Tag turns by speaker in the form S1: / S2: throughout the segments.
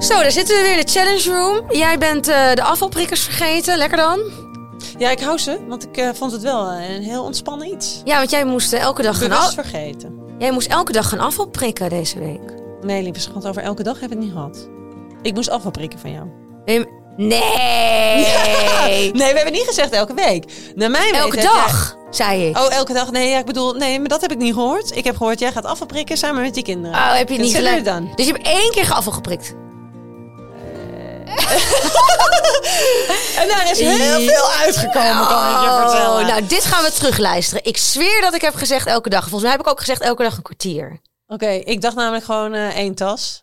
S1: Zo, daar zitten we weer in de challenge room. Jij bent eh, de afvalprikkers vergeten. Lekker dan.
S2: Ja, ik hou ze, want ik eh, vond het wel eh, een heel ontspannen iets.
S1: Ja, want jij moest eh, elke dag gaan
S2: Bewust
S1: af...
S2: vergeten.
S1: Jij moest elke dag gaan afval prikken deze week.
S2: Nee, lieve schat, over elke dag heb ik het niet gehad. Ik moest afval prikken van jou.
S1: Nee. maar- nee.
S2: Nee, we hebben niet gezegd elke week. Naar mijn
S1: Elke
S2: weten heb jij-
S1: dag, zei ik.
S2: Oh, elke dag. Nee, ja, ik bedoel, nee, maar dat heb ik niet gehoord. Ik heb gehoord, jij gaat afval prikken samen met die kinderen.
S1: Oh, heb je het
S2: Dat
S1: niet Eh,
S2: zullen we
S1: geluid?
S2: dan.
S1: Dus je hebt één keer afval geprikt.
S2: En daar is heel
S1: Ja.
S2: veel uitgekomen, kan ik je vertellen.
S1: nou, dit gaan we terugluisteren. Ik zweer dat ik heb gezegd elke dag. Volgens mij heb ik ook gezegd elke dag een kwartier.
S2: Oké, ik dacht namelijk gewoon eh, één tas.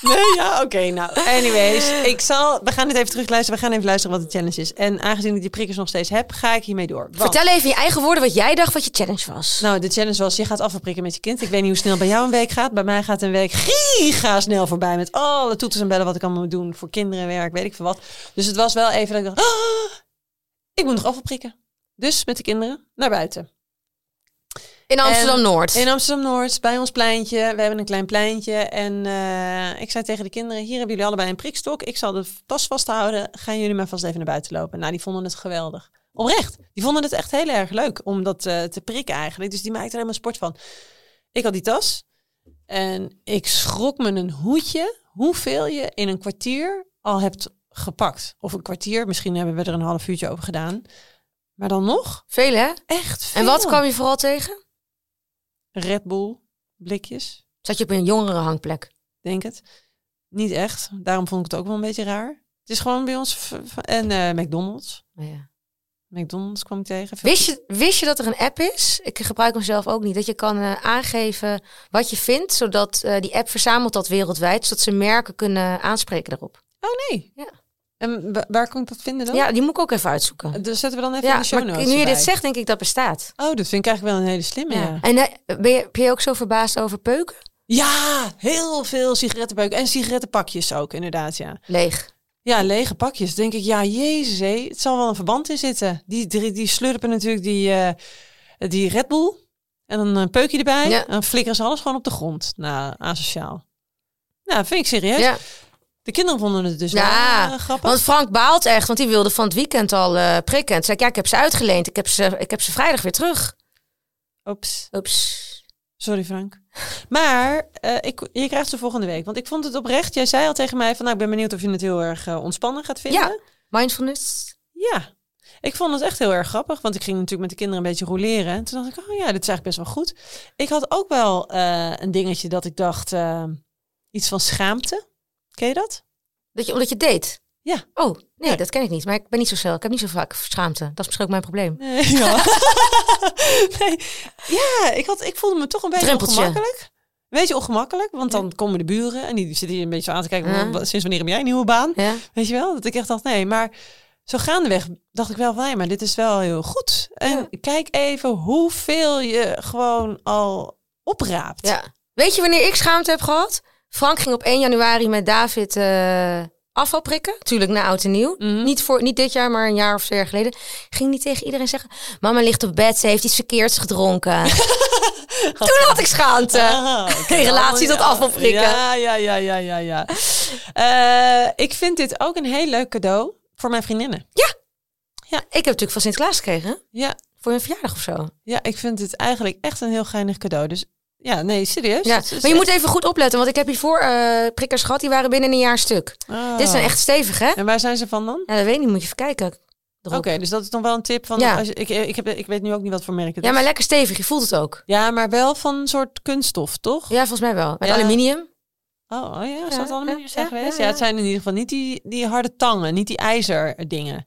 S2: nee, ja, oké. nou, anyways. Ik zal, we gaan dit even terugluisteren. We gaan even luisteren wat de challenge is. En aangezien ik die prikkers nog steeds heb, ga ik hiermee door. Want-
S1: Vertel even in je eigen woorden wat jij dacht wat je challenge was.
S2: Nou, de challenge was, je gaat afprikken met je kind. Ik weet niet hoe snel bij jou een week gaat. Bij mij gaat een week giga snel voorbij. Met alle toeters en bellen wat ik allemaal moet doen. Voor kinderen, werk, weet ik veel wat. Dus het was wel even dat ik dacht, "Ah, ik moet nog afprikken. Dus met de kinderen naar buiten.
S1: ehm, in Amsterdam-Noord.
S2: In Amsterdam-Noord, bij ons pleintje. We hebben een klein pleintje. En eh, ik zei tegen de kinderen, hier hebben jullie allebei een prikstok. Ik zal de tas vasthouden. Gaan jullie maar vast even naar buiten lopen. Nou, die vonden het geweldig. Oprecht. Die vonden het echt heel erg leuk om dat eh, te prikken eigenlijk. Dus die maakten er helemaal sport van. Ik had die tas. En ik schrok me een hoedje hoeveel je in een kwartier al hebt gepakt. Of een kwartier, misschien hebben we er een half uurtje over gedaan. Maar dan nog,
S1: Veel, hè?
S2: echt veel.
S1: En wat kwam je vooral tegen?
S2: Red Bull, blikjes.
S1: Zat je op een jongere hangplek?
S2: denk het. Niet echt. Daarom vond ik het ook wel een beetje raar. Het is gewoon bij ons. v- v- En eh, McDonald's. McDonald's kwam ik tegen. Veel-
S1: Wist, je, wist je dat er een app is? Ik gebruik hem zelf ook niet. Dat je kan eh, aangeven wat je vindt, zodat eh, die app verzamelt dat wereldwijd, zodat ze merken kunnen aanspreken daarop.
S2: Oh nee.
S1: Ja.
S2: En wa- waar kon ik dat vinden dan?
S1: Ja, die moet ik ook even uitzoeken.
S2: Dus zetten we dan even in
S1: Ja,
S2: de show
S1: maar
S2: notes.
S1: nu je dit
S2: erbij.
S1: zegt, denk ik dat bestaat.
S2: Oh, dat vind ik eigenlijk wel een hele slimme. Ja,
S1: En eh, ben je, ben je ook zo verbaasd over peuken?
S2: Ja, heel veel sigarettenbeuken. En sigarettenpakjes ook, inderdaad. Ja,
S1: Leeg.
S2: ja lege pakjes. Denk ik, ja, jezus, hé, het zal wel een verband in zitten. Die, die, die slurpen natuurlijk die, eh, die Red Bull. En dan een eh, peukje erbij.
S1: Ja.
S2: En dan flikkeren ze alles gewoon op de grond. Nou, asociaal. Nou, vind ik serieus.
S1: Ja.
S2: De kinderen vonden het dus
S1: Ja,
S2: wel eh, grappig.
S1: Want Frank baalt echt, want die wilde van het weekend al eh, prikken. En toen zei ik, ja, ik heb ze uitgeleend. Ik heb ze, ik heb ze vrijdag weer terug.
S2: Oeps.
S1: Oeps.
S2: Sorry Frank. Maar eh, ik, je krijgt ze volgende week. Want ik vond het oprecht. Jij zei al tegen mij van nou, ik ben benieuwd of je het heel erg eh, ontspannen gaat vinden.
S1: Ja. Mindfulness.
S2: Ja. Ik vond het echt heel erg grappig, want ik ging natuurlijk met de kinderen een beetje roleren. En toen dacht ik, oh ja, dit is eigenlijk best wel goed. Ik had ook wel eh, een dingetje dat ik dacht, eh, iets van schaamte. Ken je dat?
S1: Dat je, omdat je deed.
S2: Ja.
S1: Oh, nee,
S2: Ja.
S1: dat ken ik niet. Maar ik ben niet zo snel. Ik heb niet zo vaak schaamte. Dat is misschien ook mijn probleem.
S2: Nee. Ja, nee. ja ik, had, ik voelde me toch een beetje
S1: Drempeltje.
S2: ongemakkelijk. Een beetje ongemakkelijk, want dan komen de buren en die zitten hier een beetje zo aan te kijken.
S1: Ja.
S2: "Wa- Sinds wanneer heb jij een nieuwe baan?
S1: Ja.
S2: Weet je wel? Dat ik echt dacht, nee. Maar zo gaandeweg dacht ik wel van, nee, maar dit is wel heel goed. En kijk even hoeveel je gewoon al opraapt.
S1: ja. Weet je wanneer ik schaamte heb gehad? Frank ging op 1 januari met David eh afval prikken. Tuurlijk na oud en nieuw.
S2: Mhm.
S1: Niet, voor, niet dit jaar, maar een jaar of twee jaar geleden. Ging niet tegen iedereen zeggen... Mama ligt op bed, ze heeft iets verkeerds gedronken. Toen had ik schaamte.
S2: Ah, oké.
S1: In relatie tot
S2: ja.
S1: afvalprikken.
S2: Ja, ja, ja, ja, ja. ja. Eh, ik vind dit ook een heel leuk cadeau voor mijn vriendinnen.
S1: Ik heb natuurlijk van Sinterklaas gekregen.
S2: Ja,
S1: Voor mijn verjaardag of zo.
S2: Ja, ik vind het eigenlijk echt een heel geinig cadeau. Dus ja, nee, serieus.
S1: Ja.
S2: Het is
S1: Maar je
S2: echt-
S1: moet even goed opletten. Want ik heb hiervoor eh, prikkers gehad. Die waren binnen een jaar stuk.
S2: Oh.
S1: Dit zijn echt stevig, hè?
S2: En waar zijn ze van dan?
S1: Ja, dat weet ik niet. Moet je even kijken.
S2: Oké,
S1: Erop.
S2: dus dat is dan wel een tip van.
S1: Ja.
S2: Als je, ik, ik, heb, ik weet nu ook niet wat voor merk het
S1: Ja,
S2: is.
S1: maar lekker stevig. Je voelt het ook.
S2: Ja, maar wel van een soort kunststof, toch?
S1: Ja, volgens mij wel. Met
S2: Ja.
S1: aluminium.
S2: Oh, oh ja, is
S1: Ja,
S2: dat allemaal
S1: ja,
S2: hier zijn
S1: ja,
S2: geweest?
S1: ja,
S2: Ja,
S1: ja.
S2: het zijn in ieder geval niet die, die harde tangen, niet die ijzerdingen.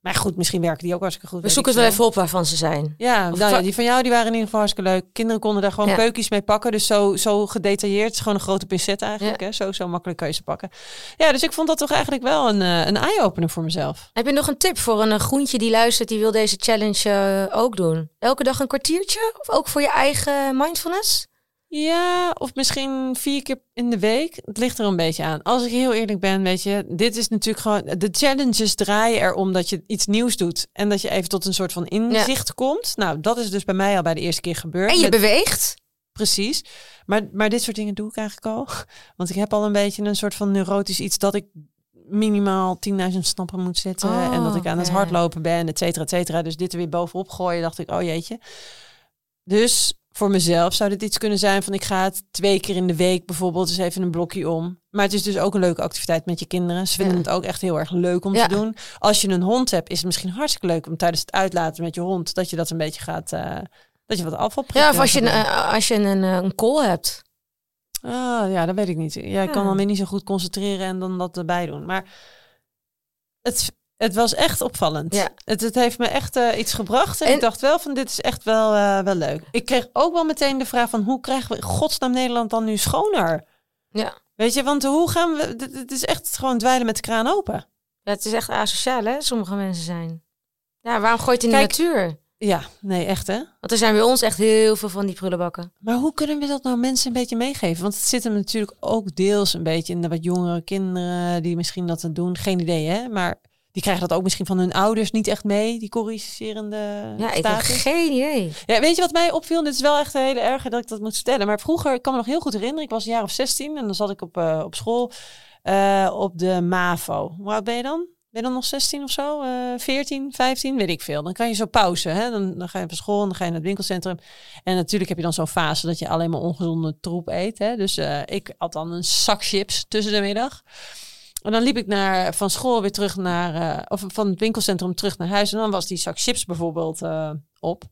S2: Maar goed, misschien werken die ook hartstikke goed.
S1: We
S2: weet
S1: zoeken
S2: ik
S1: het wel
S2: veel.
S1: even op waarvan ze zijn.
S2: Ja,
S1: Of
S2: nou ja,
S1: va-
S2: die van jou die waren in ieder geval hartstikke leuk. Kinderen konden daar gewoon
S1: Ja.
S2: peukjes mee pakken. Dus zo, zo gedetailleerd. Het is gewoon een grote pincet eigenlijk. Hè? Zo, zo makkelijk kan je ze pakken. Ja, dus ik vond dat toch eigenlijk wel een, eh, een eye-opener voor mezelf.
S1: Heb je nog een tip voor een eh, groentje die luistert, die wil deze challenge eh, ook doen? Elke dag een kwartiertje? Of ook voor je eigen mindfulness?
S2: Ja, of misschien vier keer in de week. Het ligt er een beetje aan. Als ik heel eerlijk ben, weet je, dit is natuurlijk gewoon. De challenges draaien erom dat je iets nieuws doet. En dat je even tot een soort van inzicht komt. Nou, dat is dus bij mij al bij de eerste keer gebeurd.
S1: En je
S2: Met-
S1: beweegt.
S2: Precies. Maar, maar dit soort dingen doe ik eigenlijk al. Want ik heb al een beetje een soort van neurotisch iets dat ik minimaal 10.000 stappen moet zetten.
S1: Oh,
S2: en dat ik aan het
S1: ja.
S2: hardlopen ben, et cetera, et cetera. Dus dit er weer bovenop gooien, dacht ik, oh jeetje. Dus voor mezelf zou dit iets kunnen zijn van ik ga het twee keer in de week bijvoorbeeld eens even een blokje om. Maar het is dus ook een leuke activiteit met je kinderen. Ze vinden
S1: Ja.
S2: het ook echt heel erg leuk om
S1: Ja.
S2: te doen. Als je een hond hebt, is het misschien hartstikke leuk om tijdens het uitlaten met je hond dat je dat een beetje gaat. eh, dat je wat afval
S1: Ja, of als je, een, eh, als je een, eh, een call hebt.
S2: Ah, ja, dat weet ik niet. Ja, ik kan
S1: Ja.
S2: dan weer niet zo goed concentreren en dan dat erbij doen. Maar het, het was echt opvallend.
S1: Ja.
S2: Het, het heeft me echt eh, iets gebracht. En,
S1: En-
S2: ik dacht wel van dit is echt wel, eh, wel leuk. Ik kreeg ook wel meteen de vraag van hoe krijgen we in godsnaam Nederland dan nu schoner?
S1: Ja.
S2: Weet je, want hoe gaan we... dit- Het is echt gewoon dweilen met de kraan open.
S1: Ja, het is echt asociaal, hè? Sommige mensen zijn. Ja, waarom gooit het in
S2: Kijk-
S1: de natuur?
S2: Ja, nee, echt hè.
S1: Want er zijn bij ons echt heel veel van die prullenbakken.
S2: Maar hoe kunnen we dat nou mensen een beetje meegeven? Want het zit hem natuurlijk ook deels een beetje in de wat jongere kinderen die misschien dat dan doen. Geen idee, hè? Maar die krijgen dat ook misschien van hun ouders niet echt mee, die corrigerende
S1: Ja, ik heb
S2: status.
S1: geen idee.
S2: Ja, weet je wat mij opviel? Dit is wel echt een hele erge dat ik dat moet vertellen. Maar vroeger, ik kan me nog heel goed herinneren, ik was een jaar of 16 en dan zat ik op, eh, op school eh, op de MAVO. Hoe oud ben je dan? Ben je dan nog 16 of zo? Eh 14, 15? Weet ik veel. Dan kan je zo pauze. Hè? Dan, dan ga je op school en dan ga je naar het winkelcentrum. En natuurlijk heb je dan zo'n fase dat je alleen maar ongezonde troep eet. Hè? Dus eh, ik had dan een zak chips tussen de middag. En dan liep ik naar, van school weer terug naar... eh, of van het winkelcentrum terug naar huis. En dan was die zak chips bijvoorbeeld eh, op.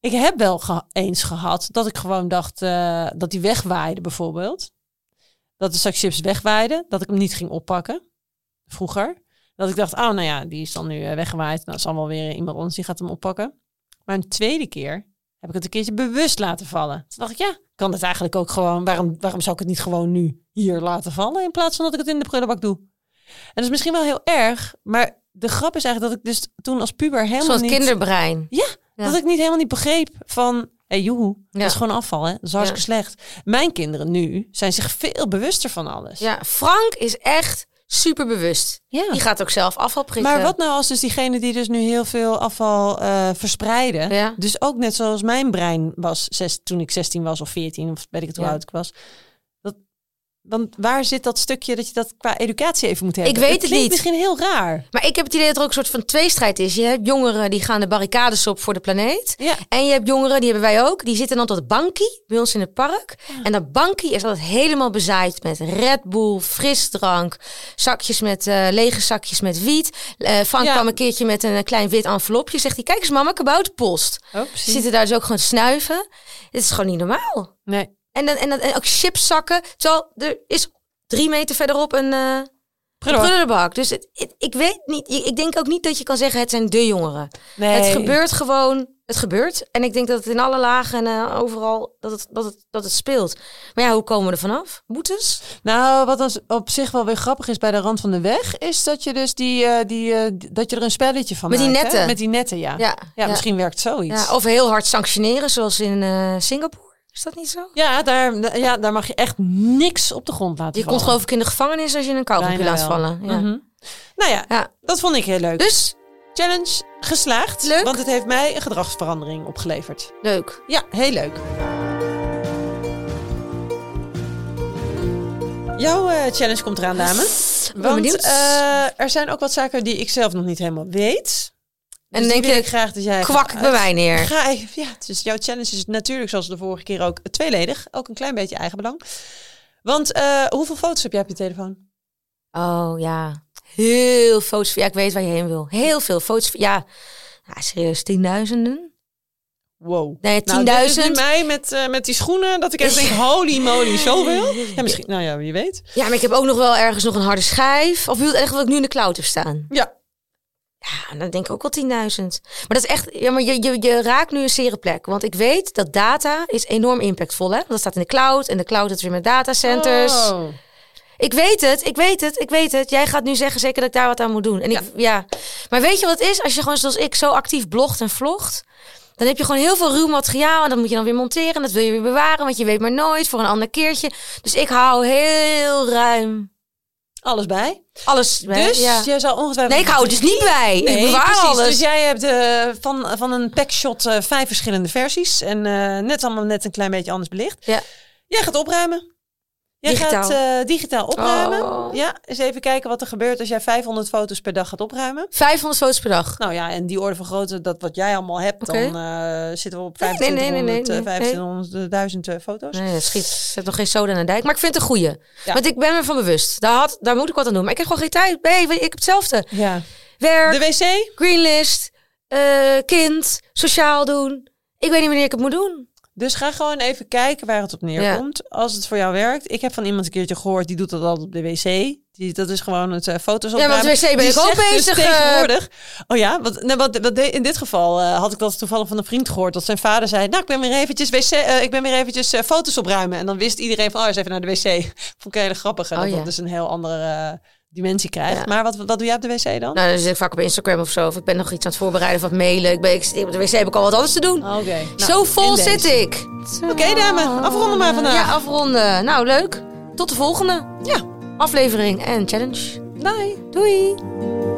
S2: Ik heb wel geha- eens gehad dat ik gewoon dacht eh, dat die wegwaaide bijvoorbeeld. Dat de zak chips wegwaaide, dat ik hem niet ging oppakken. Vroeger. Dat ik dacht, oh nou ja, die is dan nu eh, weggewaaid. Nou, is allemaal weer iemand anders die gaat hem oppakken. Maar een tweede keer heb ik het een keertje bewust laten vallen. Toen dacht ik, ja, kan dat eigenlijk ook gewoon. Waarom, waarom zou ik het niet gewoon nu hier laten vallen in plaats van dat ik het in de prullenbak doe? En dat is misschien wel heel erg, maar de grap is eigenlijk dat ik dus toen als puber helemaal
S1: Zo'n
S2: niet...
S1: kinderbrein. Ja.
S2: Dat ik niet helemaal niet begreep van, hé hey, joehoe, dat
S1: Ja.
S2: is gewoon afval hè, dat is hartstikke slecht. Mijn kinderen nu zijn zich veel bewuster van alles.
S1: Ja, Frank is echt superbewust.
S2: Ja.
S1: Die gaat ook zelf afval prikken.
S2: Maar wat nou als dus diegenen die dus nu heel veel afval eh, verspreiden,
S1: Ja.
S2: dus ook net zoals mijn brein was zes, toen ik 16 was of 14 of weet ik het hoe
S1: Ja.
S2: oud ik was. Dat, want waar zit dat stukje dat je dat qua educatie even moet hebben?
S1: Ik weet het
S2: klinkt
S1: niet.
S2: misschien heel raar.
S1: Maar ik heb het idee dat er ook een soort van tweestrijd is. Je hebt jongeren die gaan de barricades op voor de planeet.
S2: Ja.
S1: En je hebt jongeren, die hebben wij ook, die zitten dan tot bankie bij ons in het park. En dat bankie is altijd helemaal bezaaid met Red Bull, frisdrank, zakjes met eh, lege zakjes met wiet. Eh, Frank
S2: Ja.
S1: kwam een keertje met een eh, klein wit envelopje. Zegt hij, kijk eens mama, kabouterpost.
S2: Oh,
S1: Ze zitten daar dus ook gewoon te snuiven. Dit is gewoon niet normaal.
S2: Nee,
S1: En, dan, en, dan, en ook chipszakken. Terwijl er is drie meter verderop een eh
S2: prullenbak.
S1: prullenbak. Dus het, het- ik weet niet. Ik ik denk ook niet dat je kan zeggen het zijn de jongeren.
S2: nee.
S1: Het gebeurt gewoon. Het gebeurt. En ik denk dat het in alle lagen en eh, overal dat het, dat, het, dat het speelt. Maar ja, hoe komen we er vanaf? Boetes?
S2: Nou, wat als op zich wel weer grappig is bij de rand van de weg, is dat je dus die, eh, die eh, d- dat je er een spelletje van
S1: Met die
S2: maakt. hè?
S1: netten.
S2: Met die netten, ja. Ja,
S1: Ja.
S2: misschien werkt zoiets.
S1: Ja,
S2: Ja,
S1: of heel hard sanctioneren, zoals in eh, Singapore. Is dat niet zo?
S2: daar, ja, daar mag je echt niks op de grond laten
S1: Je komt
S2: vallen.
S1: geloof ik in de gevangenis als je een kauwgompje
S2: Bijna
S1: laat
S2: wel.
S1: vallen. Ja.
S2: Mhm. Nou ja,
S1: Ja.
S2: dat vond ik heel leuk.
S1: Dus,
S2: challenge geslaagd,
S1: Leuk.
S2: want het heeft mij een gedragsverandering opgeleverd.
S1: leuk.
S2: Ja, heel leuk. Jouw eh, challenge komt eraan, dame. Want
S1: benieuwd.
S2: eh, er zijn ook wat zaken die ik zelf nog niet helemaal weet.
S1: En
S2: Dus die
S1: denk
S2: wil
S1: je,
S2: ik graag dat jij.
S1: Kwak
S2: gaat
S1: bij
S2: uit-
S1: mij neer.
S2: Ga even- ja, dus jouw challenge is natuurlijk, zoals de vorige keer ook, tweeledig. Ook een klein beetje eigenbelang. Want eh, hoeveel foto's heb jij op je telefoon?
S1: Oh ja, heel foto's. Ja, ik weet waar je heen wil. Heel veel foto's. Ja, ja serieus, tienduizenden?
S2: Wow.
S1: Nee,
S2: Nou, dit is nu
S1: 10.000.
S2: mij met, eh, met die schoenen, dat ik echt denk, holy moly, zoveel. Ja, misschien, nou ja, wie weet.
S1: ja, maar ik heb ook nog wel ergens nog een harde schijf. Of je wilt echt wat ik nu in de cloud heb staan.
S2: Ja,
S1: Ja, dan denk ik ook wel 10.000. Maar dat is echt, ja, maar je, je, je raakt nu een zere plek. Want ik weet dat data is enorm impactvol, hè. Want dat staat in de cloud en de cloud is weer met datacenters.
S2: Oh.
S1: Ik weet het, ik weet het, ik weet het. Jij gaat nu zeggen zeker dat ik daar wat aan moet doen. En ik, ja. Maar weet je wat het is? Als je gewoon zoals ik zo actief blogt en vlogt... dan heb je gewoon heel veel ruw materiaal... en dat moet je dan weer monteren en dat wil je weer bewaren... want je weet maar nooit voor een ander keertje. Dus ik hou heel ruim
S2: Alles bij.
S1: Alles. hè?
S2: Dus
S1: ja.
S2: je zal ongetwijfeld...
S1: Nee, ik hou het dus niet bij. ik
S2: Nee,
S1: bewaar
S2: precies.
S1: alles.
S2: Dus jij hebt eh, van, van een packshot eh, vijf verschillende versies. En eh, net allemaal net een klein beetje anders belicht.
S1: Ja.
S2: Jij gaat opruimen. Jij
S1: Digitaal.
S2: gaat eh, digitaal opruimen.
S1: Oh.
S2: Ja, eens even kijken wat er gebeurt als jij 500 foto's per dag gaat opruimen.
S1: 500 foto's per dag.
S2: Nou ja, en die orde van grootte, dat wat jij allemaal hebt,
S1: Oké.
S2: dan eh, zitten we op
S1: Nee, nee, nee, nee, nee,
S2: 2500, eh,
S1: nee.
S2: 2500, 1000 eh, foto's.
S1: Nee, dat schiet. Zet nog geen soda in de dijk. Maar ik vind het een goeie.
S2: Ja.
S1: Want ik ben me van bewust. Daar, had, daar moet ik wat aan doen. Maar ik heb gewoon geen tijd. Nee, ik heb hetzelfde.
S2: Ja.
S1: Werk,
S2: De wc?
S1: greenlist, eh, kind, sociaal doen. Ik weet niet wanneer ik het moet doen.
S2: Dus ga gewoon even kijken waar het op neerkomt. Als het voor jou werkt. Ik heb van iemand een keertje gehoord, die doet dat altijd op de wc. Die, dat is gewoon het eh, foto's
S1: Ja, want
S2: opruimen.
S1: de wc ben
S2: Die
S1: ik ook
S2: zegt dus
S1: bezig, eh.
S2: tegenwoordig. Oh ja, wat, nou, wat, wat deed- in dit geval eh, had ik dat toevallig van een vriend gehoord. Dat zijn vader zei, nou ik ben weer eventjes, wc, eh, ik ben weer eventjes eh, foto's opruimen. En dan wist iedereen van, oh eens even naar de wc. Vond ik heel grappig. En
S1: Oh,
S2: dat
S1: ja.
S2: dat dus een heel andere eh, dimensie krijgt.
S1: Ja.
S2: Maar wat, wat doe jij op de wc dan?
S1: Nou, dan zit ik vaak op Instagram of zo. Of ik ben nog iets aan het voorbereiden of aan het mailen. Ik ben, ik, op de wc heb ik al wat anders te doen.
S2: Oké. Nou,
S1: zo vol
S2: in deze.
S1: zit ik.
S2: Oké dame, afronden maar vandaag.
S1: Ja, afronden. Nou, leuk. Tot de volgende
S2: ja.
S1: aflevering en challenge.
S2: Bye.
S1: Doei.